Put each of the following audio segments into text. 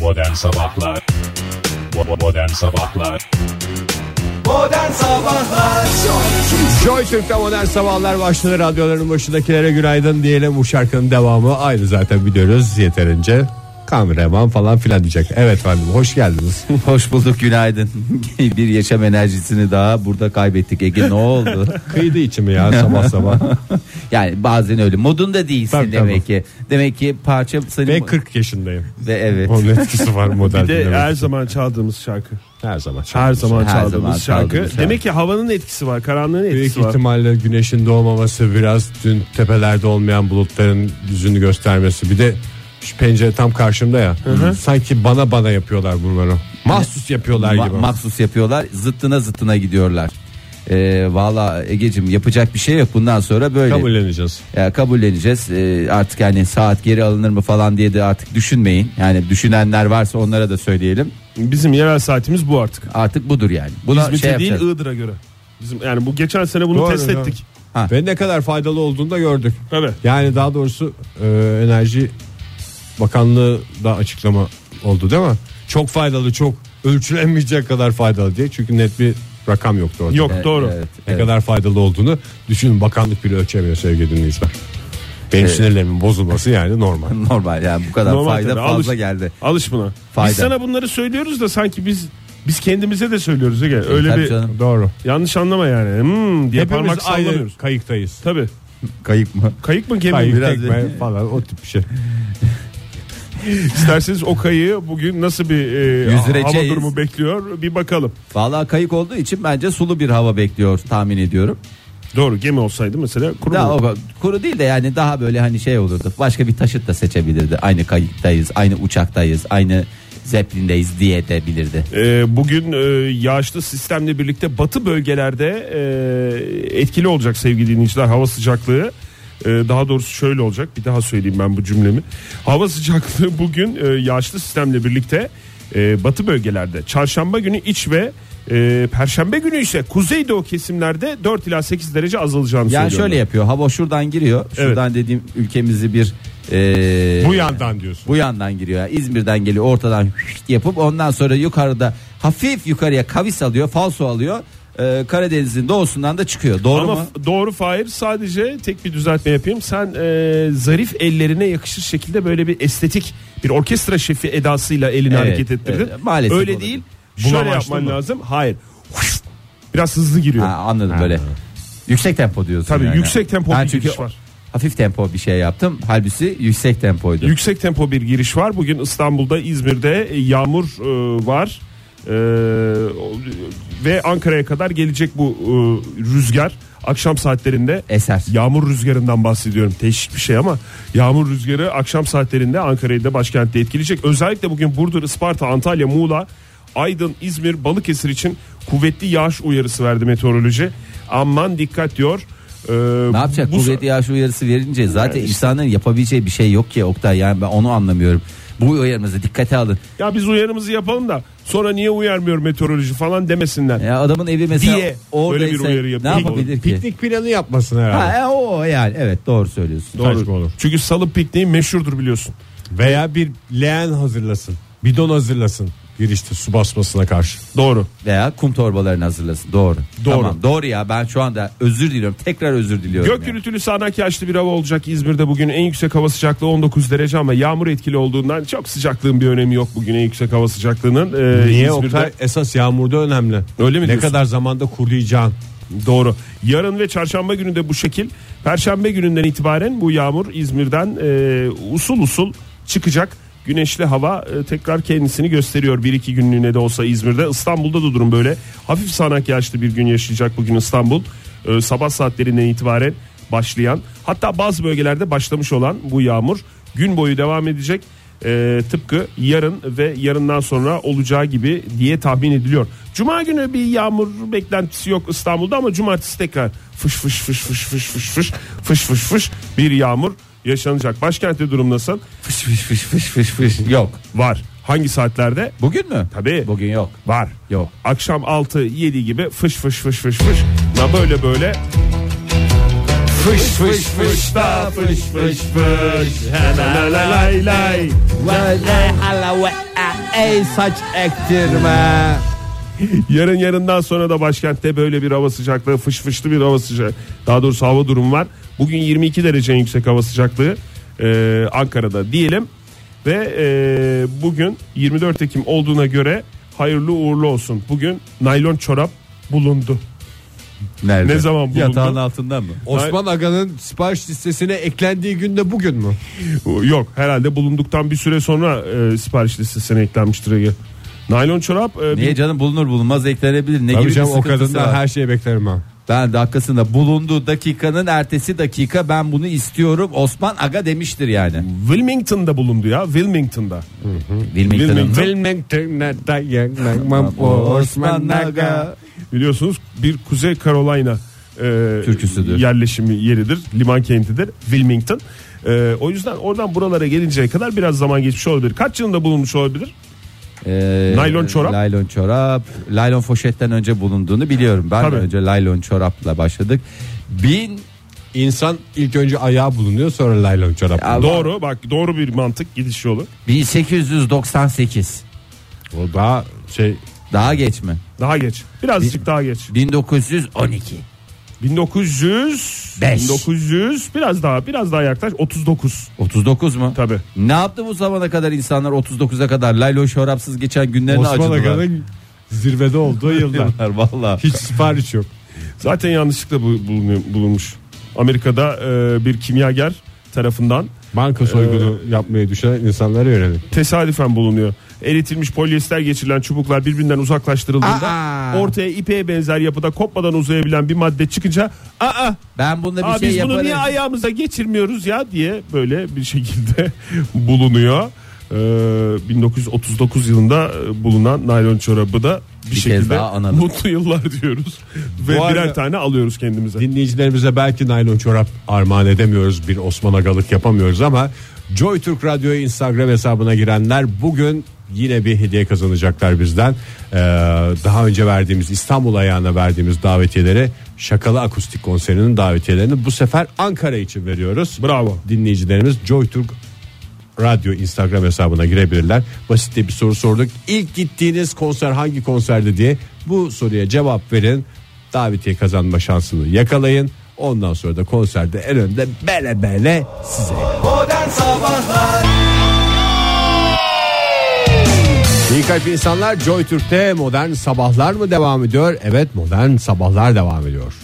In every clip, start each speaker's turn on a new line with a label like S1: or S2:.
S1: Modern Sabahlar Bo- Modern Sabahlar
S2: Modern Sabahlar
S3: Joy Türk'te modern sabahlar başladı. Radyoların başındakilere günaydın diyelim. Bu şarkının devamı aynı zaten biliyoruz. Yeterince kameraman falan filan diyecek. Evet efendim hoş geldiniz.
S4: Hoş bulduk günaydın. Bir yaşam enerjisini daha burada kaybettik Ege ne oldu?
S3: Kıydı içimi ya sabah sabah.
S4: yani bazen öyle modunda değilsin
S3: Tabii,
S4: demek
S3: tabii.
S4: ki. Demek ki parça senin
S3: Ve 40 yaşındayım.
S4: Ve evet.
S3: Onun etkisi var modern
S5: Bir de
S3: dinlemek.
S5: her zaman çaldığımız şarkı.
S3: Her zaman. şarkı.
S5: Her zaman
S4: Her
S5: çaldığımız
S4: zaman
S5: şarkı.
S4: çaldığımız şarkı.
S5: Demek ki havanın etkisi var, karanlığın etkisi
S3: Büyük
S5: var.
S3: ihtimalle güneşin doğmaması biraz dün tepelerde olmayan bulutların yüzünü göstermesi. Bir de şu pencere tam karşımda ya. Sanki bana bana yapıyorlar bunları. Mahsus yapıyorlar
S4: Ma-
S3: gibi.
S4: maksus yapıyorlar. Zıttına zıttına gidiyorlar. Ee, Valla Ege'cim yapacak bir şey yok bundan sonra böyle.
S3: Kabulleneceğiz.
S4: Ya kabulleneceğiz. Ee, artık yani saat geri alınır mı falan diye de artık düşünmeyin. Yani düşünenler varsa onlara da söyleyelim.
S5: Bizim yerel saatimiz bu artık.
S4: Artık budur yani. Buna
S5: İzmit'e
S4: şey
S5: değil
S4: yapacağız.
S5: Iğdır'a göre. Bizim yani bu geçen sene bunu
S3: Doğru,
S5: test
S3: doğru.
S5: ettik.
S3: Ve ne kadar faydalı olduğunu da gördük.
S5: Evet.
S3: Yani daha doğrusu e, Enerji Bakanlığı da açıklama oldu değil mi? Çok faydalı, çok ölçülemeyecek kadar faydalı diye. Çünkü net bir rakam yoktu orada.
S5: Yok
S4: Evet,
S5: doğru.
S4: evet,
S3: Ne
S4: evet.
S3: kadar faydalı olduğunu düşünün. Bakanlık bile ölçemiyor sevgili dinleyiciler. Benim sinirlerimin bozulması yani normal.
S4: Normal yani bu kadar
S5: Normal
S4: fayda
S5: tabii,
S4: fazla
S5: alış-
S4: geldi.
S5: Alış buna.
S4: Fayda.
S5: Biz sana bunları söylüyoruz da sanki biz biz kendimize de söylüyoruz Ege. Öyle
S4: E, Tabii
S5: bir
S4: canım.
S3: Doğru.
S5: yanlış anlama yani. Hmm diye
S3: Hepimiz
S5: parmak
S3: aynı
S5: sallamıyoruz.
S3: kayıktayız.
S5: Tabii.
S4: Kayıp mı?
S5: Kayık mı gemi
S3: Kayık,
S5: mi? Biraz-
S3: tekme falan o tip bir şey.
S5: İsterseniz o kayığı bugün nasıl bir e, hava
S4: Yüzdüreceğiz.
S5: durumu bekliyor bir bakalım.
S4: Vallahi kayık olduğu için bence sulu bir hava bekliyor tahmin ediyorum.
S5: Doğru gemi olsaydı mesela kuru
S4: Daha o- kuru değil de yani daha böyle hani şey olurdu. Başka bir taşıt da seçebilirdi. Aynı kayıktayız, aynı uçaktayız, aynı zeplindeyiz diye de bilirdi.
S5: Ee, bugün e, yağışlı sistemle birlikte batı bölgelerde e, etkili olacak sevgili dinleyiciler hava sıcaklığı. e, Daha doğrusu şöyle olacak bir daha söyleyeyim ben bu cümlemi. Hava sıcaklığı bugün e, yağışlı sistemle birlikte e, batı bölgelerde çarşamba günü iç ve e, perşembe günü ise kuzeydoğu kesimlerde 4 ila 8 derece azalacağını
S4: Yani
S5: söylüyorlar.
S4: şöyle yapıyor. Hava şuradan giriyor. Şuradan dediğim ülkemizi bir e,
S3: Bu yandan diyorsun.
S4: bu yandan giriyor. Yani İzmir'den geliyor ortadan hüşt yapıp ondan sonra yukarıda hafif yukarıya kavis alıyor, falso alıyor. E, Karadeniz'in doğusundan da çıkıyor. Doğru
S5: Ama
S4: mu?
S5: f- doğru Fahir sadece tek bir düzeltme yapayım. Sen e, zarif ellerine yakışır şekilde böyle bir estetik bir orkestra şefi edasıyla elini
S4: Evet,
S5: hareket ettirdin.
S4: evet. Maalesef
S5: Öyle
S4: olabilir.
S5: değil. Şöyle
S3: Bulamaçlı
S5: yapman
S3: mı?
S5: lazım. Hayır. Biraz hızlı giriyor.
S4: Ha, anladım böyle. Yüksek tempo diyorsun.
S5: Tabii
S4: yani.
S5: yüksek tempo
S4: Ben
S5: bir
S4: çünkü
S5: giriş var.
S4: Hafif tempo bir şey yaptım. Halbuki yüksek tempoydu.
S5: Yüksek tempo bir giriş var. Bugün İstanbul'da, İzmir'de e, yağmur e, var. E, o- ve Ankara'ya kadar gelecek bu e, rüzgar akşam saatlerinde
S4: Eser.
S5: Yağmur rüzgarından bahsediyorum. Değişik bir şey ama yağmur rüzgarı akşam saatlerinde Ankara'yı da başkentte etkileyecek. Özellikle bugün Burdur, Isparta, Antalya, Muğla, Aydın, İzmir, Balıkesir için kuvvetli yağış uyarısı verdi meteoroloji. Aman dikkat diyor. Ee,
S4: ne yapacak?
S5: bu-
S4: Kuvvetli yağış uyarısı verince zaten insanların yapabileceği bir şey yok ki Oktay. Yani ben onu anlamıyorum. Bu uyarımızı dikkate alın.
S5: Ya biz uyarımızı yapalım da sonra niye uyarmıyor meteoroloji falan demesinler.
S4: Ya adamın evi mesela
S5: Diye
S4: oradaysa
S5: böyle bir uyarı
S4: ne
S5: yapıyor.
S4: yapabilir ki?
S3: Piknik planı yapmasın herhalde.
S4: Ha, e, o yani evet doğru söylüyorsun.
S3: Saçma olur.
S5: Çünkü salı pikniği meşhurdur biliyorsun.
S3: Veya bir leğen hazırlasın. Bidon hazırlasın. Girişte su basmasına karşı.
S5: Doğru.
S4: Veya kum torbalarını hazırlasın. Doğru.
S5: Doğru.
S4: Tamam, doğru ya ben şu anda özür diliyorum. Tekrar özür diliyorum.
S5: Gök
S4: yani.
S5: gürültülü sağanak yağışlı bir hava olacak İzmir'de bugün en yüksek hava sıcaklığı 19 derece ama yağmur etkili olduğundan çok sıcaklığın bir önemi yok bugün en yüksek hava sıcaklığının. Ee,
S3: Niye
S5: İzmir'de-
S3: Oktay? Esas yağmurda önemli.
S5: Öyle mi
S3: Ne
S5: diyorsun?
S3: kadar zamanda kuruyacağın.
S5: Doğru. Yarın ve çarşamba günü de bu şekil. Perşembe gününden itibaren bu yağmur İzmir'den e, usul usul çıkacak. Güneşli hava e, tekrar kendisini gösteriyor. 1-2 günlüğüne de olsa İzmir'de. İstanbul'da da durum böyle. Hafif sağanak yağışlı bir gün yaşayacak bugün İstanbul. E, sabah saatlerinden itibaren başlayan hatta bazı bölgelerde başlamış olan bu yağmur gün boyu devam edecek. Ee, tıpkı yarın ve yarından sonra olacağı gibi diye tahmin ediliyor. Cuma günü bir yağmur beklentisi yok İstanbul'da ama cumartesi tekrar fış fış fış fış fış fış fış fış fış fış bir yağmur yaşanacak. Başkentte durum nasıl?
S4: Fış fış fış fış fış fış. Yok.
S5: Var. Hangi saatlerde?
S4: Bugün mü?
S5: Tabii.
S4: Bugün yok.
S5: Var.
S4: Yok.
S5: Akşam 6-7 gibi fış fış fış fış fış. Na böyle böyle Fış fış fış da fış fış fış. La la la lay lay.
S4: Vallahi ala ve a- ey saç ektirme.
S5: Yarın yarından sonra da başkentte böyle bir hava sıcaklığı fış fışlı bir hava sıcaklığı daha doğrusu hava durumu var. Bugün 22 derece en yüksek hava sıcaklığı e, Ankara'da diyelim ve e, bugün 24 Ekim olduğuna göre hayırlı uğurlu olsun. Bugün naylon çorap bulundu.
S4: Nerede?
S5: Ne zaman bulundu?
S4: Yatağın altından mı?
S3: Osman Aga'nın sipariş listesine eklendiği gün de bugün mü?
S5: Yok herhalde bulunduktan bir süre sonra e, sipariş listesine eklenmiştir Ege. Naylon çorap e,
S4: Niye
S5: bir-
S4: canım bulunur bulunmaz eklenebilir. Ne
S3: Tabii
S4: gibi
S3: canım
S4: bir
S3: o
S4: sıkıntısı
S3: kadından
S4: var?
S3: her şeyi beklerim ha.
S4: Ben dakikasında bulunduğu dakikanın ertesi dakika ben bunu istiyorum. Osman Aga demiştir yani.
S5: Wilmington'da bulundu ya Wilmington'da.
S4: Wilmington'ın.
S5: Wilmington.
S4: Osman Aga.
S5: Biliyorsunuz bir Kuzey Carolina e,
S4: Türküsüdür.
S5: yerleşimi yeridir. Liman kentidir. Wilmington. E, o yüzden oradan buralara gelinceye kadar biraz zaman geçmiş olabilir. Kaç yılında bulunmuş olabilir?
S4: Ee,
S5: Naylon çorap.
S4: Laylon çorap. Laylon foşetten önce bulunduğunu biliyorum. Ben
S5: Tabii.
S4: önce laylon çorapla başladık. Bin
S3: İnsan ilk önce ayağı bulunuyor sonra laylon çorap.
S4: Ya- Ama-
S5: Doğru bak doğru bir mantık gidiş yolu.
S4: 1898.
S3: O daha şey
S4: Daha geç mi?
S5: Daha geç. Birazcık daha geç.
S4: 1912.
S5: 1900
S4: Beş.
S5: 1900 biraz daha biraz daha yaklaş 39
S4: 39 mu?
S5: tabi.
S4: Ne yaptı bu zamana kadar insanlar 39'a kadar laylon çorapsız geçen günlerini
S3: Osman
S4: acıdılar.
S3: Aga'nın zirvede olduğu yıllar.
S4: Valla.
S3: Hiç sipariş yok.
S5: Zaten yanlışlıkla bu- bulunuyor- bulunmuş. Amerika'da e, bir kimyager tarafından
S3: Banka soygunu
S4: Ee.
S3: yapmayı düşünen insanlara yönelik.
S5: tesadüfen bulunuyor. Eritilmiş polyester geçirilen çubuklar birbirinden uzaklaştırıldığında
S4: Aa!
S5: ortaya ipeğe benzer yapıda kopmadan uzayabilen bir madde çıkınca aa,
S4: Ben bunda bir
S5: aa,
S4: şey
S5: biz
S4: yaparım.
S5: bunu niye ayağımıza geçirmiyoruz ya diye böyle bir şekilde bulunuyor. Ee, 1939 yılında e, bulunan naylon çorabı da bir,
S4: kez
S5: şekilde
S4: daha analım.
S5: mutlu yıllar diyoruz ve
S3: Bu arada-
S5: birer tane alıyoruz kendimize.
S3: Dinleyicilerimize belki naylon çorap armağan edemiyoruz. Bir Osman Agalık yapamıyoruz ama Joy Türk Radyo Instagram hesabına girenler bugün yine bir hediye kazanacaklar bizden. Ee, daha önce verdiğimiz İstanbul ayağına verdiğimiz davetiyeleri Şakalı Akustik Konseri'nin davetiyelerini bu sefer Ankara için veriyoruz.
S5: Bravo.
S3: Dinleyicilerimiz Joy Türk Radyo Instagram hesabına girebilirler. Basit de bir soru sorduk. İlk gittiğiniz konser hangi konserdi diye bu soruya cevap verin. Davetiye kazanma şansını yakalayın. Ondan sonra da konserde en önde bele bele size.
S2: Modern Sabahlar
S3: İyi kalp insanlar Joy Türk'te modern sabahlar mı devam ediyor? Evet modern sabahlar devam ediyor.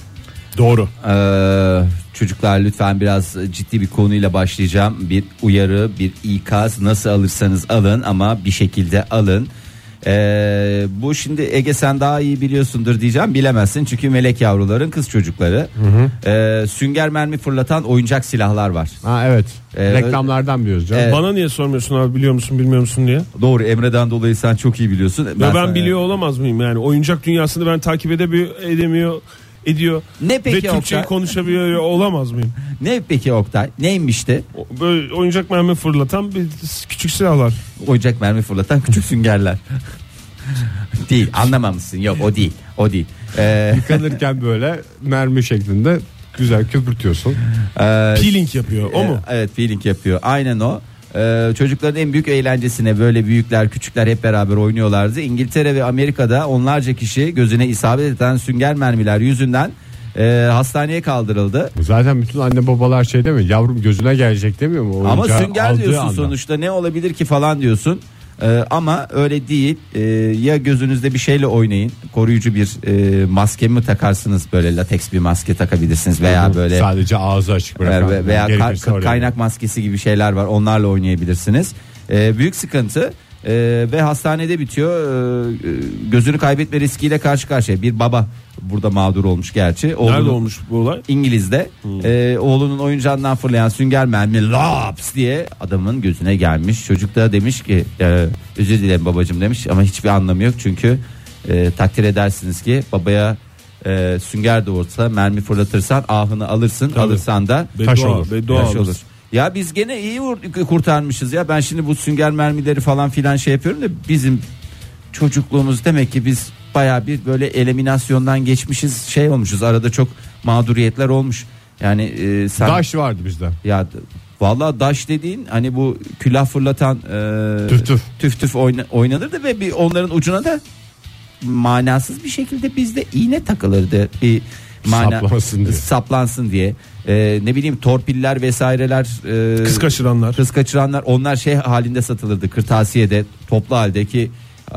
S5: Doğru.
S4: Ee, çocuklar lütfen biraz ciddi bir konuyla başlayacağım. Bir uyarı, bir ikaz nasıl alırsanız alın ama bir şekilde alın. Ee, bu şimdi Ege sen daha iyi biliyorsundur diyeceğim bilemezsin çünkü melek yavruların kız çocukları Ee, sünger mermi fırlatan oyuncak silahlar var
S3: Ha evet.
S4: Ee,
S3: Reklamlardan biliyoruz canım.
S4: Evet.
S5: Bana niye sormuyorsun abi biliyor musun bilmiyor musun diye.
S4: doğru Emre'den dolayı sen çok iyi biliyorsun
S5: Ben,
S4: sana-
S5: ben biliyor olamaz mıyım yani oyuncak dünyasını ben takip edemiyor edemiyor ediyor.
S4: Ne peki
S5: Ve Türkçeyi
S4: Oktay?
S5: konuşabiliyor olamaz mıyım?
S4: ne peki Oktay neymişti
S5: O- Böyle oyuncak mermi fırlatan bir s- küçük silahlar.
S4: oyuncak mermi fırlatan küçük süngerler değil anlamamışsın yok o değil o değil Ee,
S3: Yıkanırken böyle mermi şeklinde güzel köpürtüyorsun.
S4: ee,
S5: Peeling yapıyor o mu?
S4: Ee, Evet feeling yapıyor. Aynen o. Ee, çocukların en büyük eğlencesine böyle büyükler küçükler hep beraber oynuyorlardı. İngiltere ve Amerika'da onlarca kişi gözüne isabet eden sünger mermiler yüzünden e, hastaneye kaldırıldı.
S3: Zaten bütün anne babalar şey demiyor. Yavrum gözüne gelecek demiyor mu?
S4: Ama
S3: Oyuncağı
S4: sünger
S3: aldığı
S4: diyorsun
S3: anda.
S4: sonuçta ne olabilir ki falan diyorsun. Ee, ama öyle değil. Ee, ya gözünüzde bir şeyle oynayın. Koruyucu bir e, maske mi takarsınız böyle lateks bir maske takabilirsiniz veya böyle
S3: sadece ağzı açık bırakan
S4: veya, veya ka-
S3: gerekirse oraya.
S4: kaynak maskesi gibi şeyler var onlarla oynayabilirsiniz Ee, büyük sıkıntı ee, ve hastanede bitiyor Ee, e, gözünü kaybetme riskiyle karşı karşıya bir baba burada mağdur olmuş gerçi
S5: Nerede
S4: Oğlunun-
S5: olmuş bu olay?
S4: İngiliz'de
S5: Hmm.
S4: Ee, oğlunun oyuncağından fırlayan sünger mermi laps diye adamın gözüne gelmiş çocuk da demiş ki "Ee, özür dilerim babacığım demiş ama hiçbir anlamı yok çünkü e, takdir edersiniz ki babaya e, sünger doğursa mermi fırlatırsan ahını alırsın alırsan da
S5: Beddua,
S3: Taş olur.
S5: beddua
S4: Yaş
S5: alırsın.
S4: olur. Ya biz gene iyi vur- kurtarmışız ya. Ben şimdi bu sünger mermileri falan filan şey yapıyorum da bizim çocukluğumuz demek ki biz baya bir böyle eliminasyondan geçmişiz şey olmuşuz. Arada çok mağduriyetler olmuş. Yani e, sen
S3: Daş vardı bizde.
S4: ya Vallahi daş dediğin hani bu külah fırlatan e,
S3: Tüf tüf.
S4: tüf tüf oyna- oynanırdı ve bir onların ucuna da manasız bir şekilde bizde iğne takılırdı. Bir mana
S3: Saplansın diye.
S4: saplansın diye. E, ne bileyim torpiller vesaireler e,
S5: Kız kaçıranlar.
S4: Kız kaçıranlar onlar şey halinde satılırdı kırtasiyede toplu haldeki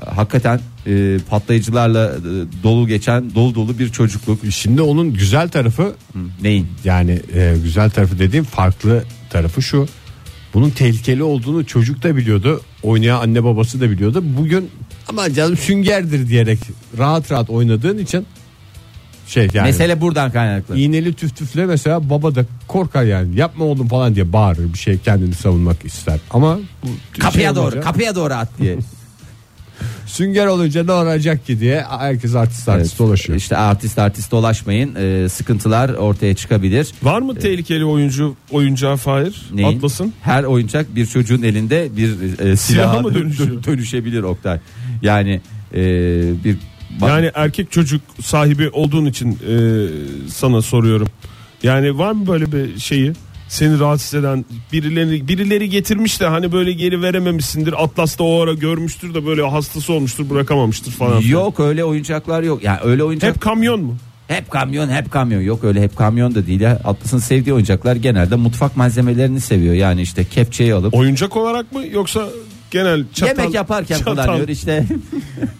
S4: hakikaten e, patlayıcılarla e, dolu geçen dolu dolu bir çocukluk.
S3: Şimdi onun güzel tarafı
S4: Neyin?
S3: yani e, güzel tarafı dediğim farklı tarafı şu. Bunun tehlikeli olduğunu çocuk da biliyordu. Oynayan anne babası da biliyordu. Bugün ama canım süngerdir diyerek rahat rahat oynadığın için şey yani
S4: Mesele buradan kaynaklı.
S3: iğneli tüf tüfle mesela baba da korkar yani yapma oğlum falan diye bağırır bir şey kendini savunmak ister. Ama bu
S4: Kapıya
S3: şey
S4: doğru,
S3: olunca,
S4: kapıya doğru at diye.
S3: sünger olunca ne olacak ki diye herkes artist artist dolaşıyor.
S4: İşte artist artist dolaşmayın. e, sıkıntılar ortaya çıkabilir.
S5: Var mı tehlikeli oyuncu oyuncağı Fahir?
S4: E. Neyin?
S5: Atlas'ın.
S4: Her oyuncak bir çocuğun elinde bir e, silaha
S5: Silaha mı dönüşüyor?
S4: dönüşebilir Oktay. Yani e, bir bak-
S5: Yani erkek çocuk sahibi olduğun için e, sana soruyorum. Yani var mı böyle bir şeyi? Seni rahatsız eden birileri birileri getirmiş de hani böyle geri verememişsindir. Atlas da o ara görmüştür de böyle hastası olmuştur bırakamamıştır falan. filan.
S4: yok öyle oyuncaklar yok. Yani öyle oyuncak
S5: Hep kamyon mu?
S4: Hep kamyon hep kamyon yok öyle hep kamyon da değil. ya. Atlas'ın sevdiği oyuncaklar genelde mutfak malzemelerini seviyor. Yani işte kepçeyi alıp
S5: Oyuncak olarak mı yoksa genel çatal?
S4: yemek yaparken
S5: çatal,
S4: kullanıyor işte.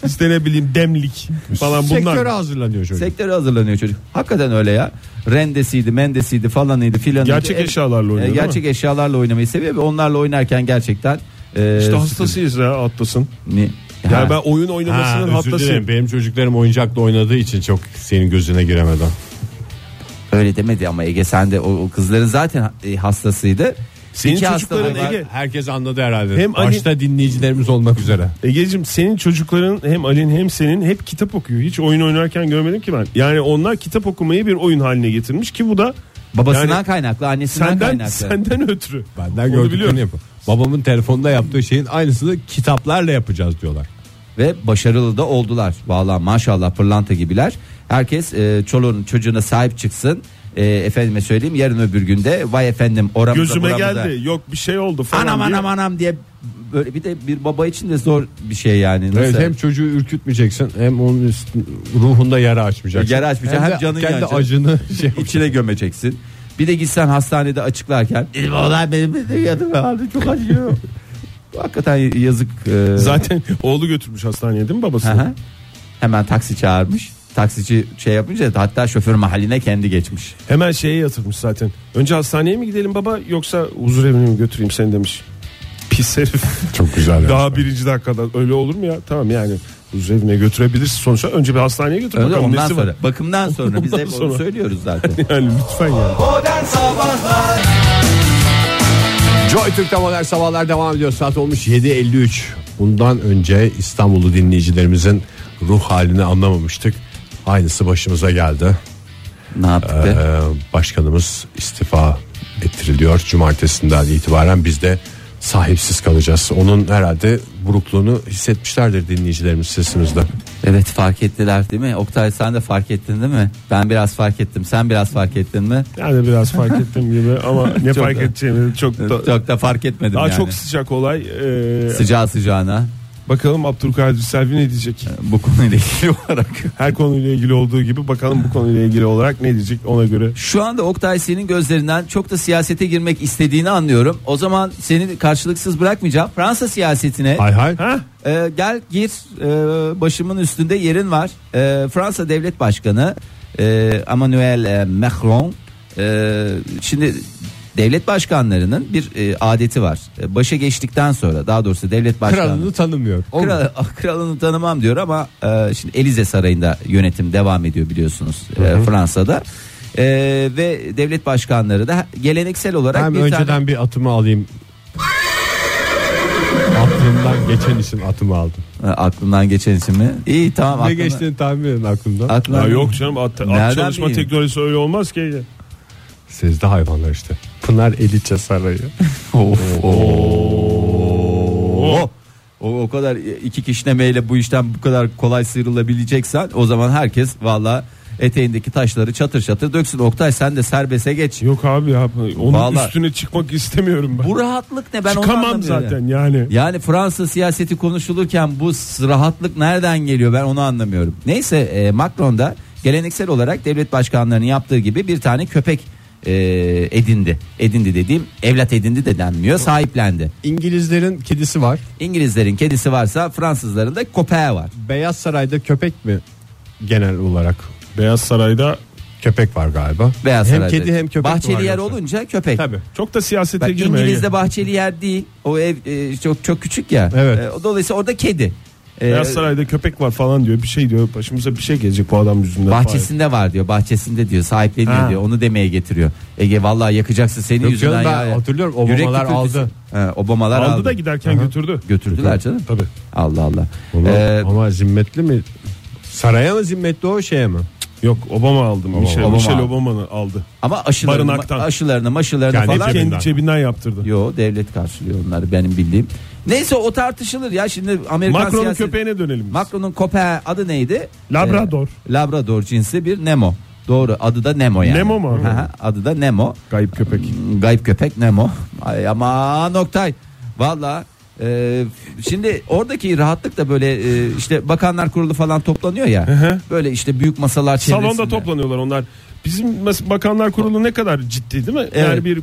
S5: işte ne bileyim demlik falan bunlar.
S3: Sektöre hazırlanıyor çocuk.
S4: Sektöre hazırlanıyor çocuk. Hakikaten öyle ya. Rendesiydi, mendesiydi falanıydı filanıydı.
S5: Gerçek
S4: E,
S5: eşyalarla oynuyor,
S4: e, Gerçek eşyalarla oynamayı seviyor ve onlarla oynarken gerçekten e,
S5: İşte hastasıyız ya Atlas'ın.
S4: Ne?
S5: Ya
S4: Ha,
S5: ben oyun oynamasının
S3: Ha, özür
S5: hastasıyım.
S3: dilerim. Benim çocuklarım oyuncakla oynadığı için çok senin gözüne giremeden.
S4: öyle demedi ama Ege sen de o, o kızların zaten e, hastasıydı.
S5: Senin
S4: İki hasta
S5: çocukların
S4: var.
S5: Ege.
S3: Herkes anladı herhalde.
S5: Hem Ali-
S3: Başta dinleyicilerimiz olmak üzere.
S5: Ege'cim senin çocukların hem Ali'nin hem senin hep kitap okuyor. Hiç oyun oynarken görmedim ki ben. Yani onlar kitap okumayı bir oyun haline getirmiş ki bu da
S4: babasından
S5: Yani
S4: kaynaklı, annesinden
S5: senden
S4: kaynaklı.
S5: senden ötürü.
S3: Benden
S5: Onu biliyorum.
S3: gördüklerini yapın. Babamın telefonda yaptığı şeyin aynısını kitaplarla yapacağız diyorlar.
S4: ve başarılı da oldular. Valla maşallah pırlanta gibiler. Herkes e, çoluğun çocuğuna sahip çıksın. E, efendime söyleyeyim yarın öbür günde vay efendim oramıza
S5: Gözüme
S4: buramıza.
S5: geldi. Yok bir şey oldu falan
S4: Anam
S5: diye.
S4: anam anam diye böyle bir de bir baba için de zor bir şey yani. Nasıl?
S3: Evet, hem çocuğu ürkütmeyeceksin hem onun üst- ruhunda yara açmayacaksın.
S4: Yara açmayacaksın, hem
S3: de
S4: canın
S3: kendi
S4: yanacak.
S3: acını şey
S4: içine gömeceksin. Bir de gitsen hastanede açıklarken "Dedim, olay benim de yadım ağrı çok acıyor. Hakikaten yazık. e,
S5: Zaten oğlu götürmüş hastaneye değil mi babası?
S4: aha. Hemen taksi çağırmış. Taksici şey yapınca hatta şoför mahalline kendi geçmiş.
S5: Hemen şeye yatırmış zaten. Önce hastaneye mi gidelim baba yoksa huzur evine mi götüreyim seni demiş. Pis herif.
S3: Çok güzel.
S5: Daha birinci dakikada öyle olur mu ya? Tamam yani huzur evine götürebilirsin sonuçta. Önce bir hastaneye götür
S4: Öyle
S5: bakalım
S4: ondan
S5: nesi
S4: sonra.
S5: var.
S4: Bakımdan sonra biz
S5: Ondan
S4: hep
S5: sonra.
S4: onu söylüyoruz zaten.
S5: Yani lütfen yani.
S2: Modern Sabahlar
S3: Joy Türk'te modern sabahlar devam ediyor. Saat olmuş 7.53. Bundan önce İstanbul'lu dinleyicilerimizin ruh halini anlamamıştık. Aynısı başımıza geldi.
S4: ne yaptık be?
S3: Ee, başkanımız istifa ettiriliyor. Cumartesinden itibaren biz de sahipsiz kalacağız. Onun herhalde burukluğunu hissetmişlerdir dinleyicilerimiz sesimizde.
S4: Evet fark ettiler değil mi? Oktay sen de fark ettin değil mi? Ben biraz fark ettim. Sen biraz fark ettin mi?
S5: Yani biraz fark ettim gibi ama ne
S4: Çok
S5: fark
S4: da-
S5: edeceğimi çok da,
S4: Çok da fark etmedim
S5: daha
S4: yani.
S5: çok sıcak olay. Ee,
S4: Sıcağı sıcağına
S5: bakalım Abdülkadir Selvi ne diyecek?
S4: bu konuyla ilgili olarak.
S5: Her konuyla ilgili olduğu gibi bakalım bu konuyla ilgili olarak ne diyecek ona göre.
S4: Şu anda Oktay senin gözlerinden çok da siyasete girmek istediğini anlıyorum. O zaman seni karşılıksız bırakmayacağım. Fransa siyasetine
S3: Hay hay.
S5: Ha?
S4: e, gel gir e, başımın üstünde yerin var. E, Fransa Devlet Başkanı e, Emmanuel e, Macron e, şimdi devlet başkanlarının bir e, adeti var. E, başa geçtikten sonra daha doğrusu devlet başkanı
S3: Kralını tanımıyor.
S4: Kral, kralını tanımam diyor ama e, şimdi Elize Sarayı'nda yönetim devam ediyor biliyorsunuz e, Fransa'da. E, ve devlet başkanları da geleneksel olarak
S3: Hem
S4: bir
S3: önceden
S4: tane
S3: bir atımı alayım. Aklımdan geçen için atımı aldım.
S4: Ha, aklından geçen için mi? İyi tamam
S3: Ne
S4: aklına-
S3: geçtiğini tahmin edin aklımdan.
S4: aklına-
S5: Ya yok canım at, at
S4: Nereden
S5: çalışma
S4: bileyim?
S5: teknolojisi öyle olmaz ki.
S3: Sezdi hayvanlar işte. Pınar Eliçe Sarayı.
S4: Of, oo. O, o kadar iki kişnemeyle bu işten bu kadar kolay sıyrılabileceksen o zaman herkes valla eteğindeki taşları çatır çatır döksün. Oktay sen de serbeste geç.
S5: Yok abi ya onun
S4: Vallahi-
S5: üstüne çıkmak istemiyorum ben.
S4: Bu rahatlık ne ben onu
S5: Çıkamam
S4: anlamıyorum.
S5: zaten yani.
S4: Yani Fransa siyaseti konuşulurken bu s- rahatlık nereden geliyor ben onu anlamıyorum. Neyse e, Macron da geleneksel olarak devlet başkanlarının yaptığı gibi bir tane köpek e, edindi. Edindi dediğim evlat edindi de denmiyor sahiplendi.
S3: İngilizlerin kedisi var.
S4: İngilizlerin kedisi varsa Fransızların da köpeği var.
S3: Beyaz Saray'da köpek mi genel olarak?
S5: Beyaz Saray'da
S3: Köpek var galiba.
S4: Beyaz
S3: hem
S4: Saray'da.
S3: kedi hem köpek
S4: Bahçeli
S3: var
S4: yer
S3: yoksa.
S4: olunca köpek.
S3: Tabii.
S5: çok da siyasete
S4: Bak,
S5: girmeye
S4: İngiliz'de bahçeli yer değil. O ev e, çok çok küçük ya.
S3: Evet.
S4: E, dolayısıyla orada kedi. E,
S5: Beyaz Saray'da köpek var falan diyor. Bir şey diyor. Başımıza bir şey gelecek bu adam yüzünden.
S4: Bahçesinde var diyor. Bahçesinde diyor. Sahipleniyor
S5: Ha.
S4: diyor. Onu demeye getiriyor. Ege vallahi yakacaksın senin
S3: Yok
S4: yüzünden
S3: canım, ben
S4: ya.
S3: hatırlıyorum, Obamalar
S4: Yürek kütürtüsü.
S3: aldı.
S4: He, Obamalar
S5: Aldı,
S4: aldı.
S5: da giderken götürdü.
S4: Götürdüler canım.
S3: Tabii.
S4: Allah Allah.
S3: Onu-
S4: Ee,
S3: ama zimmetli mi? Saraya mı zimmetli o şeye mi?
S5: Yok Obama aldım. Michelle,
S4: Obama
S5: Michelle
S4: aldı.
S5: Obama'nı aldı.
S4: ama aşılarını,
S5: Barınaktan.
S4: aşılarını maşılarını
S5: Hep
S4: falan.
S5: kendi cebinden yaptırdı.
S4: Yo devlet karşılıyor onları benim bildiğim. Neyse o tartışılır ya şimdi Amerikan
S5: Macron'un
S4: siyasi-
S5: köpeğine dönelim. biz.
S4: Macron'un köpeği adı neydi?
S5: Labrador.
S4: Ee, Labrador cinsi bir Nemo. Doğru adı da Nemo yani.
S5: Nemo mu?
S4: Hı hı, adı da Nemo.
S5: Kayıp köpek.
S4: Gayip köpek Nemo. Ay aman Oktay. Valla e, şimdi oradaki rahatlık da böyle e, işte bakanlar kurulu falan toplanıyor ya. Böyle işte büyük masalar çevresinde.
S5: Salonda toplanıyorlar onlar. Bizim mes- bakanlar kurulu ne kadar ciddi değil mi?
S4: Evet.
S5: Yani bir ku-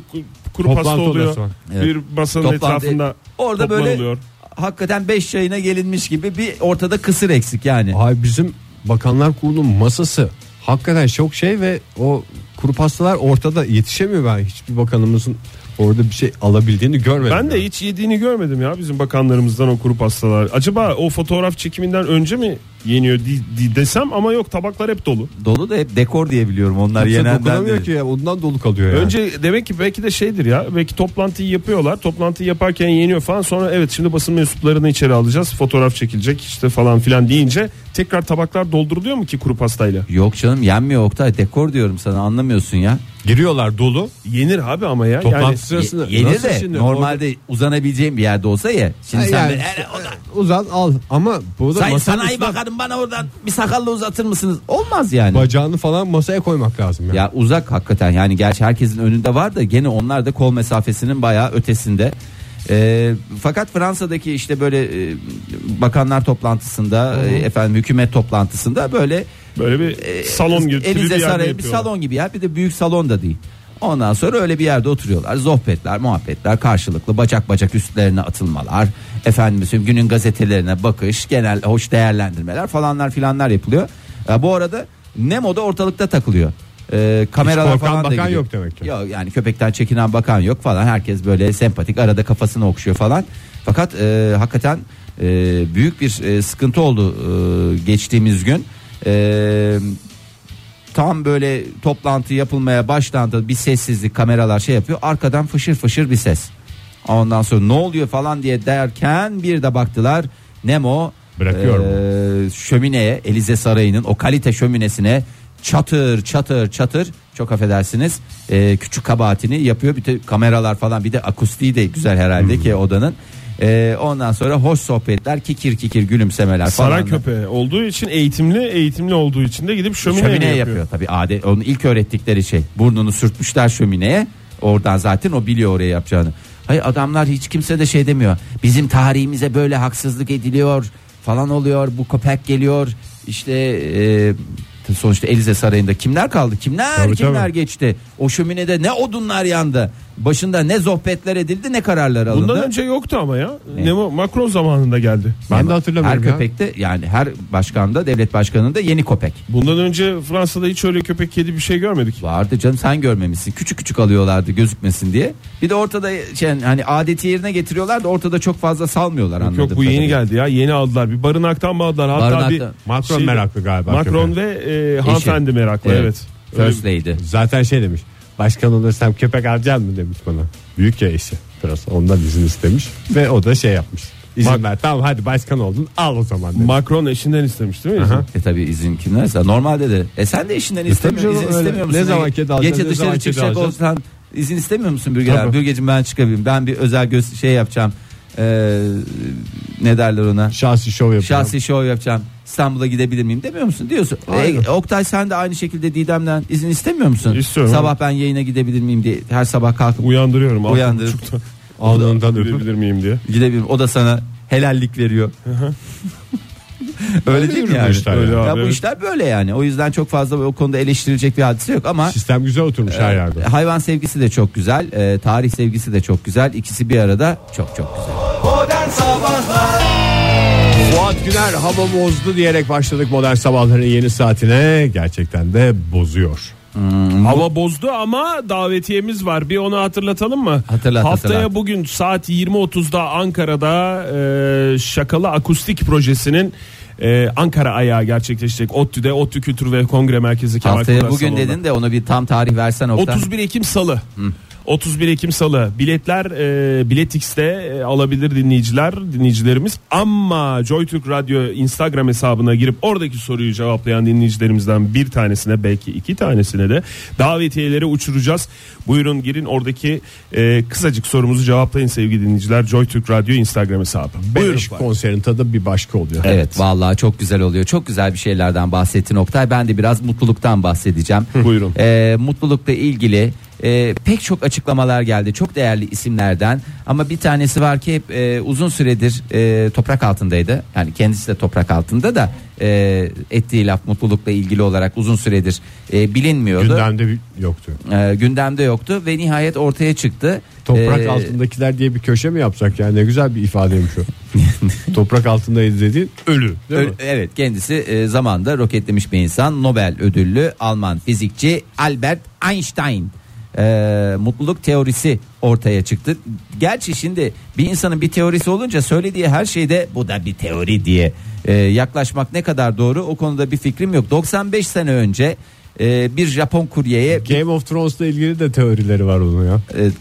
S5: kuru
S3: Toplantı
S5: pasta oluyor.
S3: odası var.
S4: Evet.
S5: Bir masanın
S4: Toplantı-
S5: etrafında
S4: Orada böyle
S5: toplanılıyor.
S4: hakikaten beş çayına gelinmiş gibi bir ortada kısır eksik yani.
S3: Ay bizim Bakanlar Kurulu masası hakikaten çok şey ve o kuru pastalar ortada yetişemiyor ben hiçbir bakanımızın orada bir şey alabildiğini görmedim.
S5: Ben de
S3: yani.
S5: hiç yediğini görmedim ya bizim bakanlarımızdan o kuru pastalar. Acaba o fotoğraf çekiminden önce mi yeniyor di- di- desem ama yok tabaklar hep dolu.
S4: Dolu da hep dekor diye biliyorum onlar
S3: Kimse
S4: yenenden
S3: dokunamıyor
S4: değil.
S3: ki ya, ondan dolu kalıyor yani.
S5: Önce demek ki belki de şeydir ya belki toplantıyı yapıyorlar toplantıyı yaparken yeniyor falan sonra evet şimdi basın mensuplarını içeri alacağız fotoğraf çekilecek işte falan filan deyince tekrar tabaklar dolduruluyor mu ki kuru pastayla?
S4: Yok canım yenmiyor Oktay dekor diyorum sana anlamıyorsun ya.
S3: giriyorlar dolu.
S5: Yenir abi ama ya
S3: Toplantı
S5: yani
S3: sırasında
S4: Ye- yenir
S3: Nasıl
S4: de
S3: şimdi?
S4: normalde uzanabileceğim bir yerde olsa ya. Şimdi
S3: Ha,
S4: sen
S3: yani
S4: böyle,
S3: işte, e,
S4: "Hele oradan,
S3: Uzat al ama bu da
S4: Sayın
S3: masanın
S4: sanayi
S3: üstüne
S4: bakanım bana oradan bir sakalla uzatır mısınız? Olmaz yani.
S3: bacağını falan masaya koymak lazım yani.
S4: ya uzak hakikaten yani gerçi herkesin önünde var da gene onlar da kol mesafesinin bayağı ötesinde. Ee, fakat Fransa'daki işte böyle e, bakanlar toplantısında e, efendim hükümet toplantısında böyle
S5: böyle bir
S4: e,
S5: salon gibi türlü bir
S4: Elize
S5: yerde
S4: Sarayı bir
S5: yapıyorlar.
S4: salon gibi ya bir de büyük salon da değil. Ondan sonra öyle bir yerde oturuyorlar. Zohbetler, muhabbetler, karşılıklı bacak bacak üstlerine atılmalar. Efendim söyleyeyim, günün gazetelerine bakış, genel hoş değerlendirmeler falanlar filanlar yapılıyor. E, bu arada Nemo da ortalıkta takılıyor. E, kameralar
S3: korkan
S4: falan da
S3: bakan
S4: gidiyor.
S3: yok demek ki.
S4: Yok yani köpekten çekinen bakan yok falan. Herkes böyle sempatik arada kafasını okşuyor falan. Fakat e, hakikaten e, büyük bir e, sıkıntı oldu e, geçtiğimiz gün. E, tam böyle toplantı yapılmaya başlandı bir sessizlik kameralar şey yapıyor arkadan fışır fışır bir ses ondan sonra ne oluyor falan diye derken bir de baktılar Nemo
S3: Bırakıyor
S4: eee, şömineye Elize Sarayı'nın o kalite şöminesine çatır çatır çatır çok affedersiniz eee, küçük kabahatini yapıyor bir de kameralar falan bir de akustiği de güzel herhalde ki odanın Eee, ondan sonra hoş sohbetler kikir kikir gülümsemeler falan
S5: Saray köpeği olduğu için eğitimli, eğitimli olduğu için de gidip şömine,
S4: şömine
S5: yapıyor.
S4: yapıyor. tabii adet onun ilk öğrettikleri şey burnunu sürtmüşler şömineye oradan zaten o biliyor oraya yapacağını hayır adamlar hiç kimse de şey demiyor bizim tarihimize böyle haksızlık ediliyor falan oluyor bu köpek geliyor işte e, sonuçta Elize Sarayı'nda kimler kaldı kimler
S3: Tabii,
S4: kimler
S3: tabii.
S4: geçti o şöminede ne odunlar yandı başında ne sohbetler edildi ne kararlar alındı
S5: Bundan önce yoktu ama ya.
S4: Ne?
S5: Nemo Macron zamanında geldi.
S3: Ben de hatırlamıyorum
S4: her
S3: ya.
S4: köpekte yani her başkanda devlet başkanında yeni köpek
S5: Bundan önce Fransa'da hiç öyle köpek kedi bir şey görmedik.
S4: Vardı canım sen görmemişsin. Küçük küçük alıyorlardı gözükmesin diye. Bir de ortada şey, hani adeti yerine getiriyorlar da ortada çok fazla salmıyorlar
S5: Yok,
S4: anladım.
S5: Yok bu yeni geldi ya. Yeni aldılar. Bir barınaktan mı aldılar? Hatta
S4: Barınakta-
S5: bir
S3: Macron
S5: şeydi.
S3: meraklı galiba.
S5: Macron
S3: köpeğe.
S5: ve e, hanımefendi meraklı evet. Öyle-
S4: First lady.
S3: Zaten şey demiş. Başkan olursam köpek alacak mı demiş bana. Büyük ya işi. Biraz ondan izin istemiş. Ve o da şey yapmış. İzin
S5: Bak-
S3: ver tamam hadi başkan oldun al o zaman demiş.
S5: Macron eşinden istemiş değil mi? izin?
S4: E tabi izin kimlerse normalde de. E sen de işinden istemiyor,
S3: canım,
S4: izin
S3: öyle.
S4: istemiyor musun?
S3: Ne zaman
S4: E,
S3: kedi alacaksın,
S4: Gece
S3: ne zaman
S4: dışarı
S3: kedi
S4: çıkacak
S3: alacaksın?
S4: olsan izin istemiyor musun Bürger?
S3: Tabii.
S4: Bürgeciğim ben çıkabileyim. Ben bir özel göz şey yapacağım. e, ne derler ona?
S3: Şahsi şov yapacağım.
S4: Şahsi şov yapacağım. İstanbul'a gidebilir miyim demiyor musun? Diyorsun.
S3: Aynen.
S4: E, Oktay sen de aynı şekilde Didem'den izin istemiyor musun?
S5: İstiyorum.
S4: Sabah ben yayına gidebilir miyim diye her sabah kalkıp
S5: Uyandırıyorum. altı
S4: Uyandır.
S5: buçukta
S3: Alnından öpüp.
S5: Gidebilir miyim diye.
S4: gidebilirim. O da sana helallik veriyor. Öyle değil mi
S3: yürüyor
S4: yani?
S3: işler
S5: Öyle
S3: yani.
S5: abi,
S4: Ya bu
S5: evet.
S4: işler böyle yani. O yüzden çok fazla o konuda eleştirilecek bir hadise yok ama
S3: Sistem güzel oturmuş her yerde.
S4: hayvan sevgisi de çok güzel, e, tarih sevgisi de çok güzel. İkisi bir arada çok çok güzel.
S2: Modern Sabahlar
S3: Fuat Güner hava bozdu diyerek başladık modern sabahların yeni saatine. Gerçekten de bozuyor.
S5: Hava bozdu ama davetiyemiz var. Bir onu hatırlatalım mı?
S4: Hatırlat,
S5: Haftaya
S4: hatırlat.
S5: bugün saat 20.30'da Ankara'da e, Şakalı Akustik Projesi'nin e, Ankara ayağı gerçekleşecek. ODTÜ'de ODTÜ Kültür ve Kongre Merkezi Kemal
S4: Haftaya
S5: Kıraç
S4: bugün
S5: Salonu'nda.
S4: dedin de onu bir tam tarih versen Oktay.
S5: 31 Ekim Salı. 31 Ekim Salı. Biletler e, Biletix'te e, alabilir dinleyiciler, dinleyicilerimiz. Ama JoyTürk Radyo Instagram hesabına girip oradaki soruyu cevaplayan dinleyicilerimizden bir tanesine belki iki tanesine de davetiyeleri uçuracağız. Buyurun girin oradaki e, kısacık sorumuzu cevaplayın sevgili dinleyiciler. JoyTürk Radyo Instagram hesabı. Buyurun.
S3: Beş konserin tadı bir başka oluyor.
S4: Evet, vallahi çok güzel oluyor. Çok güzel bir şeylerden bahsettin Oktay. Ben de biraz mutluluktan bahsedeceğim.
S5: Buyurun.
S4: Ee, mutlulukla ilgili e, pek çok açıklamalar geldi. Çok değerli isimlerden. Ama bir tanesi var ki hep e, uzun süredir e, toprak altındaydı. Yani kendisi de toprak altında da e, ettiği laf mutlulukla ilgili olarak uzun süredir e, bilinmiyordu.
S3: Gündemde bir yoktu.
S4: E, gündemde yoktu ve nihayet ortaya çıktı.
S3: Toprak
S4: E,
S3: altındakiler diye bir köşe mi yapsak yani ne güzel bir ifadeymiş o. Toprak altındaydı dediğin ölü değil mi?
S4: Ö- Evet kendisi e, zamanda roketlemiş bir insan Nobel ödüllü Alman fizikçi Albert Einstein E, mutluluk teorisi ortaya çıktı. Gerçi şimdi bir insanın bir teorisi olunca söylediği her şeyde bu da bir teori diye e, yaklaşmak ne kadar doğru o konuda bir fikrim yok. 95 sene önce e, bir Japon kuryeye
S3: Game of Thrones'la ilgili de teorileri var onun ya.
S4: e,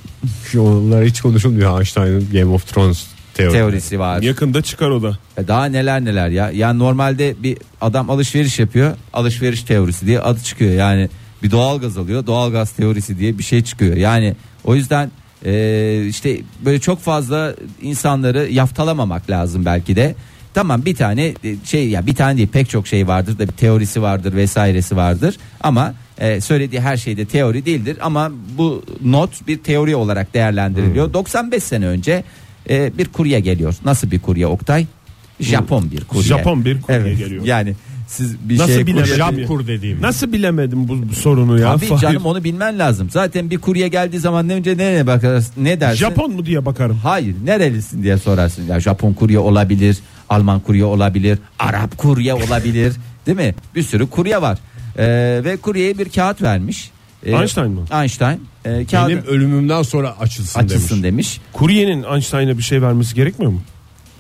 S3: Şu Onlar hiç konuşulmuyor Einstein'ın Game of Thrones teorisi.
S4: teorisi var.
S5: Yakında çıkar o da.
S4: E, Daha neler neler ya. Yani normalde bir adam alışveriş yapıyor. Alışveriş teorisi diye adı çıkıyor. Yani bir doğalgaz alıyor. Doğalgaz teorisi diye bir şey çıkıyor. Yani o yüzden e, işte böyle çok fazla insanları yaftalamamak lazım belki de. Tamam bir tane e, şey ya bir tane değil pek çok şey vardır da bir teorisi vardır vesairesi vardır ama e, söylediği her şeyde teori değildir ama bu not bir teori olarak değerlendiriliyor. 95 sene önce e, bir kurye geliyor. Nasıl bir kurye Oktay? Japon bir kurye.
S5: Japon bir kurye
S4: Evet,
S5: geliyor.
S4: Yani siz bir
S5: Nasıl
S4: şey
S5: bilemedin?
S4: kurye-
S3: Japkur dediğim.
S5: Nasıl bilemedim bu, bu sorunu ya?
S4: Abi
S5: Fahir?
S4: canım onu bilmen lazım. Zaten bir kurye geldiği zaman ne önce nereye bakarsın? Ne dersin?
S5: Japon mu diye bakarım.
S4: Hayır nerelisin diye sorarsın. Ya Japon kurye olabilir, Alman kurye olabilir, Arap kurye olabilir. Değil mi? Bir sürü kurye var. Ee, ve kuryeye bir kağıt vermiş. Ee,
S5: Einstein mı?
S4: Einstein. Ee, kağıdı
S3: Benim ölümümden sonra açılsın, demiş.
S4: açılsın demiş.
S5: Kuryenin Einstein'a bir şey vermesi gerekmiyor mu?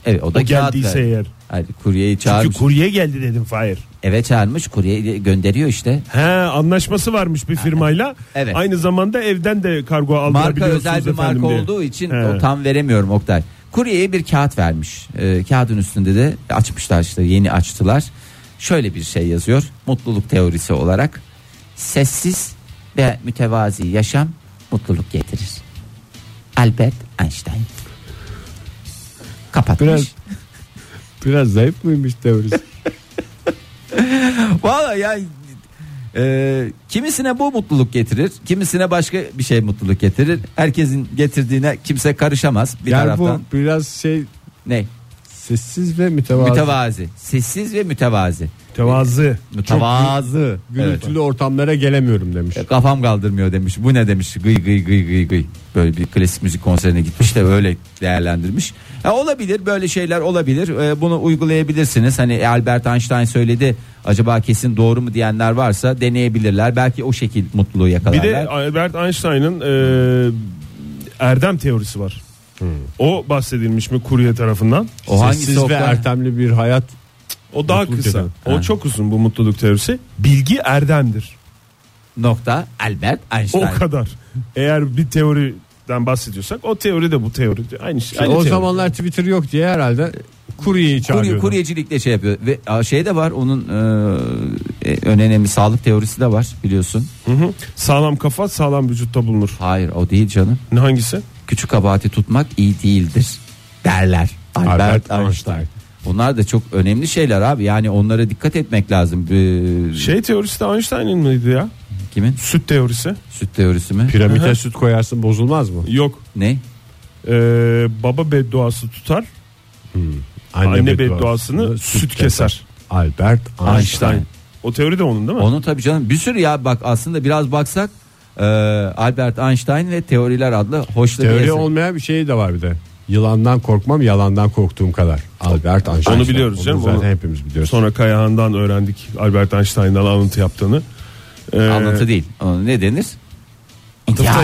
S4: Evet o da
S5: O
S4: kağıt
S5: geldiyse
S4: ver-
S5: eğer.
S4: Hayır, kuryeyi
S5: Çünkü
S4: çağırmış.
S5: kurye geldi dedim Fahir.
S4: eve çağırmış, kuryeyi gönderiyor işte.
S5: He anlaşması varmış bir firmayla.
S4: Evet.
S5: Aynı zamanda evden de kargo
S4: marka
S5: aldırabiliyorsunuz
S4: özel bir marka
S5: efendim diye.
S4: olduğu için
S5: He.
S4: o tam veremiyorum Oktay. Kuryeye bir kağıt vermiş. Ee, kağıdın üstünde de açmışlar işte yeni açtılar. Şöyle bir şey yazıyor. Mutluluk teorisi olarak sessiz ve mütevazi yaşam mutluluk getirir. Albert Einstein. Kapatmış.
S3: Biraz- Biraz zayıf mıymış teorisi?
S4: Valla yani e, kimisine bu mutluluk getirir, kimisine başka bir şey mutluluk getirir. Herkesin getirdiğine kimse karışamaz bir
S3: yani
S4: taraftan.
S3: bu biraz şey
S4: Ne?
S3: sessiz ve mütevazı.
S4: Mütevazi. Sessiz ve mütevazi.
S5: Tevazı.
S4: Mütevazı.
S3: Gürültülü ortamlara gelemiyorum demiş.
S4: Evet. E, Kafam kaldırmıyor demiş. Bu ne demiş? Gıy gıy gıy gıy gıy. Böyle bir klasik müzik konserine gitmiş de öyle değerlendirmiş. Ha, olabilir böyle şeyler olabilir. Ee, bunu uygulayabilirsiniz. Hani Albert Einstein söyledi. Acaba kesin doğru mu diyenler varsa deneyebilirler. Belki o şekil mutluluğu
S5: Bir
S4: yakalarlar.
S5: de Albert Einstein'ın e, erdem teorisi var. O bahsedilmiş mi kurye tarafından?
S4: Hmm. o
S3: sessiz
S4: hangisi
S3: ve
S4: Oktay?
S3: ertemli bir hayat
S5: O daha
S3: Mutluluk
S5: kısa.
S3: eden.
S5: O
S4: Ha.
S5: çok uzun bu mutluluk teorisi. Bilgi erdemdir.
S4: nokta Albert
S5: O
S4: Einstein.
S5: kadar. Eğer bir teoriden bahsediyorsak o teori de bu teori. Aynı şey. Aynı
S3: o
S5: teori.
S3: zamanlar Twitter yok diye herhalde kuryeyi
S4: Kurye,
S3: çağırıyordu.
S4: kuryecilikle şey yapıyor ve a, şey de var onun e, e, en önemli sağlık teorisi de var biliyorsun.
S5: Hı hı. Sağlam kafa sağlam vücutta bulunur.
S4: Hayır o değil canım.
S5: Ne hangisi?
S4: Küçük kabahati tutmak iyi değildir. derler. Albert,
S3: Albert
S4: Einstein.
S3: Einstein.
S4: Bunlar da çok önemli şeyler abi. Yani onlara dikkat etmek lazım. Bir-
S5: Şey teorisi de Einstein'ın mıydı ya?
S4: Kimin?
S5: Süt teorisi.
S4: Süt teorisi mi?
S3: Piramite süt koyarsın bozulmaz mı?
S5: Yok.
S4: ne?
S5: Ee, baba bedduası tutar. Anne, bedduasını süt keser.
S3: Albert Einstein.
S4: Einstein.
S5: O teori de onun değil mi?
S4: Onun tabii canım bir sürü ya bak aslında biraz baksak e, Albert Einstein ve teoriler adlı hoşlu bir
S3: Teori
S4: eser.
S3: olmayan bir şey de var bir de. Yılandan korkmam yalandan korktuğum kadar. Albert Einstein.
S5: Onu biliyoruz canım,
S3: zaten
S5: onu-
S3: hepimiz biliyoruz.
S5: Sonra Kayahan'dan öğrendik Albert Einstein'dan alıntı yaptığını. Ee,
S4: Anlatı değil. Ona ne denir?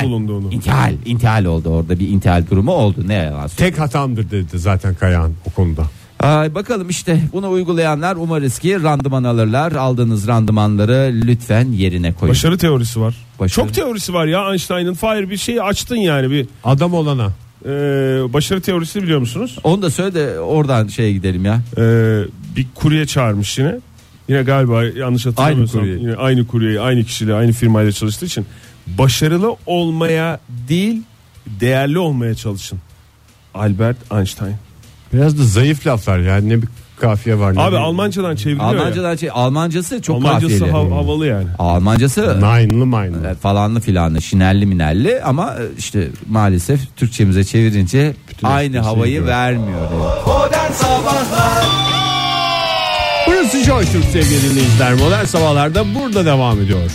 S5: bulunduğunu.
S4: İntihal. İntihal oldu orada bir intihal durumu oldu. Ne yalan söyleyeyim.
S3: Tek hatamdır dedi zaten Kayahan o konuda.
S4: Ay, bakalım işte bunu uygulayanlar umarız ki randıman alırlar. Aldığınız randımanları lütfen yerine koyun.
S5: Başarı teorisi var.
S4: Başarı.
S5: Çok teorisi var ya Einstein'ın. Fahir bir şeyi açtın yani bir
S3: Adam olana.
S5: e, başarı teorisini biliyor musunuz?
S4: Onu da söyle de oradan şeye gidelim ya.
S5: E, bir kurye çağırmış yine. Yine galiba yanlış hatırlamıyorsam
S4: Aynı kurye.
S5: yine aynı kuryeyi aynı kişiyle aynı firmayla çalıştığı için başarılı olmaya değil değerli olmaya çalışın. Albert Einstein.
S3: Biraz da zayıf laflar yani ne bir kafiye var. ne
S5: Abi
S3: bir-
S5: Almancadan çevriliyor ya.
S4: Almancadan şey, Almancası çok
S5: Almancası
S4: kafiyeli.
S5: hav- havalı yani.
S4: Almancası
S3: Nine'lı mine'lı.
S4: e, falanlı filanlı şinelli minelli ama e, işte maalesef Türkçemize çevirince aynı havayı
S3: gibi.
S4: vermiyor.
S2: Modern Sabahlar
S3: Burası Joy Türk sevgili dinleyiciler. Modern sabahlarda burada devam ediyor.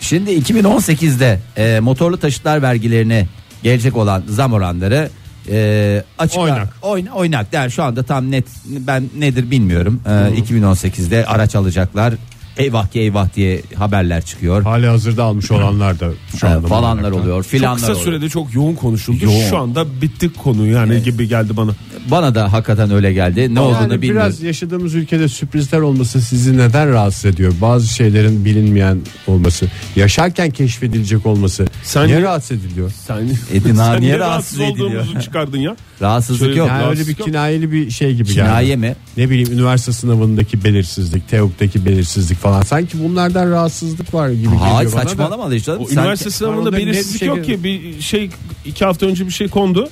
S4: Şimdi 2018'de e, motorlu taşıtlar vergilerine gelecek olan zam oranları e, açık
S3: Oynak.
S4: Oyn- oynak der şu anda tam net ben nedir bilmiyorum. E, 2018'de araç alacaklar. Eyvah ki eyvah diye haberler çıkıyor.
S3: Hali hazırda almış olanlar da şu
S4: E,
S3: anda.
S4: falanlar
S3: Monark'ta.
S4: oluyor
S5: Çok
S4: filanlar
S5: kısa
S4: oluyor.
S5: sürede çok yoğun konuşuldu.
S4: Yoğun.
S5: Şu anda bittik konu yani gibi geldi bana.
S4: Bana da hakikaten öyle geldi. Ne
S3: Yani
S4: olduğunu bilmiyorum.
S3: biraz yaşadığımız ülkede sürprizler olması sizi neden rahatsız ediyor? Bazı şeylerin bilinmeyen olması, yaşarken keşfedilecek olması.
S5: Sen-
S3: niye rahatsız ediliyor?
S5: Sen,
S4: Edin
S5: sen
S4: niye
S5: niye
S4: E, rahatsız
S5: rahatsız
S4: ediliyor?
S5: olduğumuzu çıkardın ya.
S4: Rahatsızlık
S5: Şöyle
S4: yok.
S3: Yani öyle bir
S5: rahatsızlık yok.
S3: kinayeli bir şey gibi
S4: Kinaye
S3: geldi.
S4: mi?
S3: Ne bileyim üniversite sınavındaki belirsizlik, TEOK'taki belirsizlik falan. Sanki bunlardan rahatsızlık var gibi
S5: şey
S3: geliyor
S4: Hayır
S3: bana da.
S4: saçmalama da işte.
S5: O
S4: Sen-
S5: üniversite sınavında
S3: Orada net
S5: belirsizlik
S3: bir şey
S5: yok ki bir şey iki hafta önce bir şey kondu.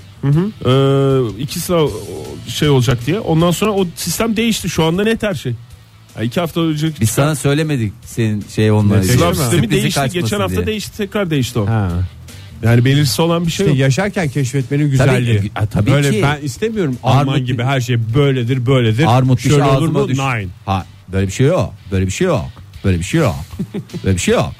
S5: Ee, iki sınav o, şey olacak diye. Ondan sonra o sistem değişti. Şu anda net her şey. Yani iki hafta önce
S4: Biz sana söylemedik senin şey olmayı.
S3: Nefes
S5: sınav
S3: Geçemem.
S5: sistemi değişti.
S4: kaçmasın
S5: Geçen hafta
S4: diye.
S5: değişti tekrar değişti o.
S3: Ha.
S5: Yani belirsiz olan bir şey
S3: İşte
S5: yok.
S3: yaşarken keşfetmenin güzelliği.
S4: Tabii ki- ha, tabii
S3: böyle
S4: ki.
S3: ben istemiyorum
S4: Armut-
S3: Alman gibi her şey böyledir böyledir.
S4: Armut dişi
S3: Şöyle olur
S4: ağzıma
S3: mu?
S4: düştü.
S3: Nine.
S4: Ha, böyle bir şey yok. Böyle bir şey yok. Böyle bir şey yok. böyle bir şey yok.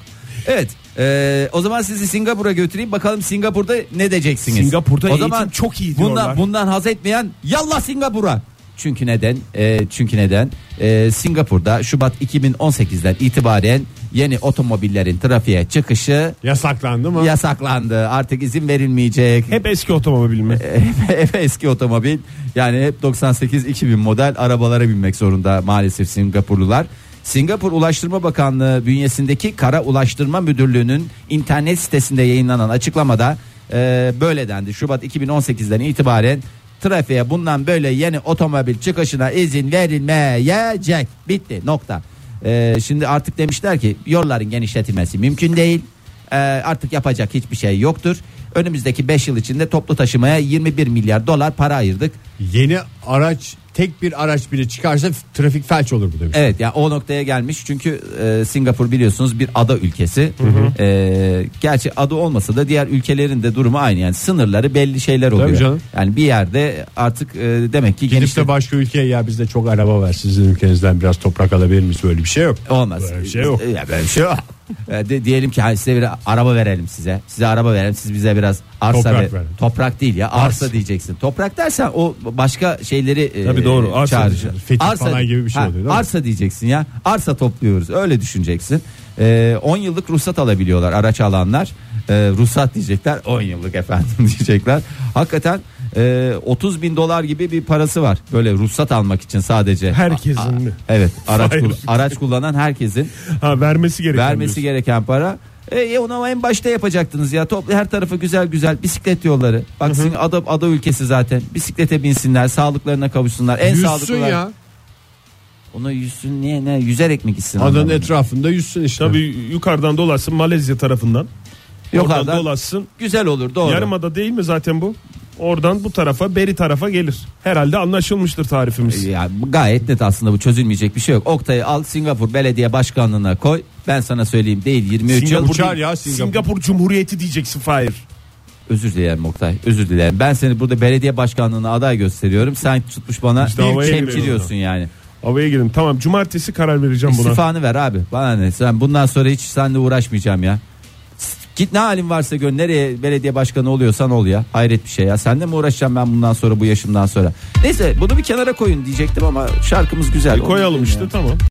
S4: Evet. e, o zaman sizi Singapur'a götüreyim bakalım Singapur'da ne diyeceksiniz?
S5: Singapur'da
S4: o
S5: eğitim çok iyi diyorlar.
S4: Bundan, bundan haz etmeyen yallah Singapur'a. Çünkü neden? E, çünkü neden? E, Singapur'da Şubat 2018'den itibaren yeni otomobillerin trafiğe çıkışı
S3: Yasaklandı mı?
S4: yasaklandı. Artık izin verilmeyecek.
S5: Hep eski otomobil mi?
S4: hep eski otomobil yani hep 98-2000 model arabalara binmek zorunda maalesef Singapurlular. Singapur Ulaştırma Bakanlığı bünyesindeki Kara Ulaştırma Müdürlüğü'nün internet sitesinde yayınlanan açıklamada e, böyle dendi. Şubat 2018'den itibaren trafiğe bundan böyle yeni otomobil çıkışına izin verilmeyecek. Bitti nokta. E, şimdi artık demişler ki yolların genişletilmesi mümkün değil. Ee, artık yapacak hiçbir şey yoktur. Önümüzdeki 5 yıl içinde toplu taşımaya 21 milyar dolar para ayırdık.
S3: Yeni araç tek bir araç bile çıkarsa f- trafik felç olur bu demiş.
S4: Evet ya o noktaya gelmiş çünkü e, Singapur biliyorsunuz bir ada ülkesi. E, gerçi ada olmasa da diğer ülkelerin de durumu aynı yani sınırları belli şeyler oluyor.
S3: canım.
S4: Yani bir yerde artık e, demek ki
S3: Gidip
S4: genişle
S3: de başka ülkeye ya bizde çok araba var sizin ülkenizden biraz toprak alabilir miyiz böyle bir şey yok.
S4: olmaz.
S3: Böyle bir şey yok.
S4: Ya böyle bir şey yok. E, de- diyelim ki hani size bir araba verelim size. Size araba verelim. Siz bize biraz arsa
S3: Toprak
S4: ve-
S3: verin.
S4: Toprak değil ya. Arsa diyeceksin. Toprak dersen o başka şeyleri e,
S5: Tabii doğru, arsa
S4: çağırıcı.
S5: diyeceğiz.
S3: Fetih falan gibi bir şey oluyor, değil mi?
S4: Arsa diyeceksin ya. Arsa topluyoruz. Öyle düşüneceksin. E, 10 yıllık ruhsat alabiliyorlar araç alanlar. E, ruhsat diyecekler. 10 yıllık efendim diyecekler. Hakikaten e, 30 bin dolar gibi bir parası var. Böyle ruhsat almak için sadece.
S5: Herkesin mi?
S4: Evet. Araç,
S5: Hayır.
S4: kul- araç kullanan herkesin
S5: Ha vermesi gerekiyor.
S4: vermesi
S5: diyorsun.
S4: gereken para. E, e, onu ama en başta yapacaktınız ya. Toplu her tarafı güzel güzel bisiklet yolları. Bak sizin ada, ada ülkesi zaten. Bisiklete binsinler, sağlıklarına kavuşsunlar. En
S3: Yüzsün
S4: sağlıklılar.
S3: ya.
S4: Ona yüzsün niye ne yüzerek mi gitsin?
S3: Adanın
S4: adamlar?
S3: etrafında yüzsün işte.
S5: Tabii yukarıdan dolaşsın Malezya tarafından.
S4: Yok
S5: Oradan
S4: adam.
S5: dolaşsın.
S4: Güzel olur doğru.
S5: Yarımada değil mi zaten bu? Oradan bu tarafa beri tarafa gelir. Herhalde anlaşılmıştır tarifimiz.
S4: E, Ya bu gayet net aslında bu çözülmeyecek bir şey yok. Oktay'ı al Singapur Belediye Başkanlığına koy. Ben sana söyleyeyim değil 23 yıl.
S3: Singapur-
S5: değil,
S3: Uçar ya Singapur.
S5: Singapur Cumhuriyeti diyeceksin Fahir.
S4: Özür dilerim Oktay. Özür dilerim. Ben seni burada belediye başkanlığına aday gösteriyorum. Sen tutmuş bana
S5: İşte
S4: bir
S5: havaya
S4: çemkiriyorsun yani.
S5: Havaya gidin. Tamam cumartesi karar vereceğim buna.
S4: İstifanı ver abi. Bana ne? Sen bundan sonra hiç seninle uğraşmayacağım ya. S- Git ne halin varsa gör. Nereye belediye başkanı oluyorsan ol ya. Hayret bir şey ya. Seninle mi uğraşacağım ben bundan sonra bu yaşımdan sonra? Neyse bunu bir kenara koyun diyecektim ama şarkımız güzel.
S5: E,
S4: Onu
S5: koyalım
S4: dedim
S5: işte
S4: ya.
S5: tamam.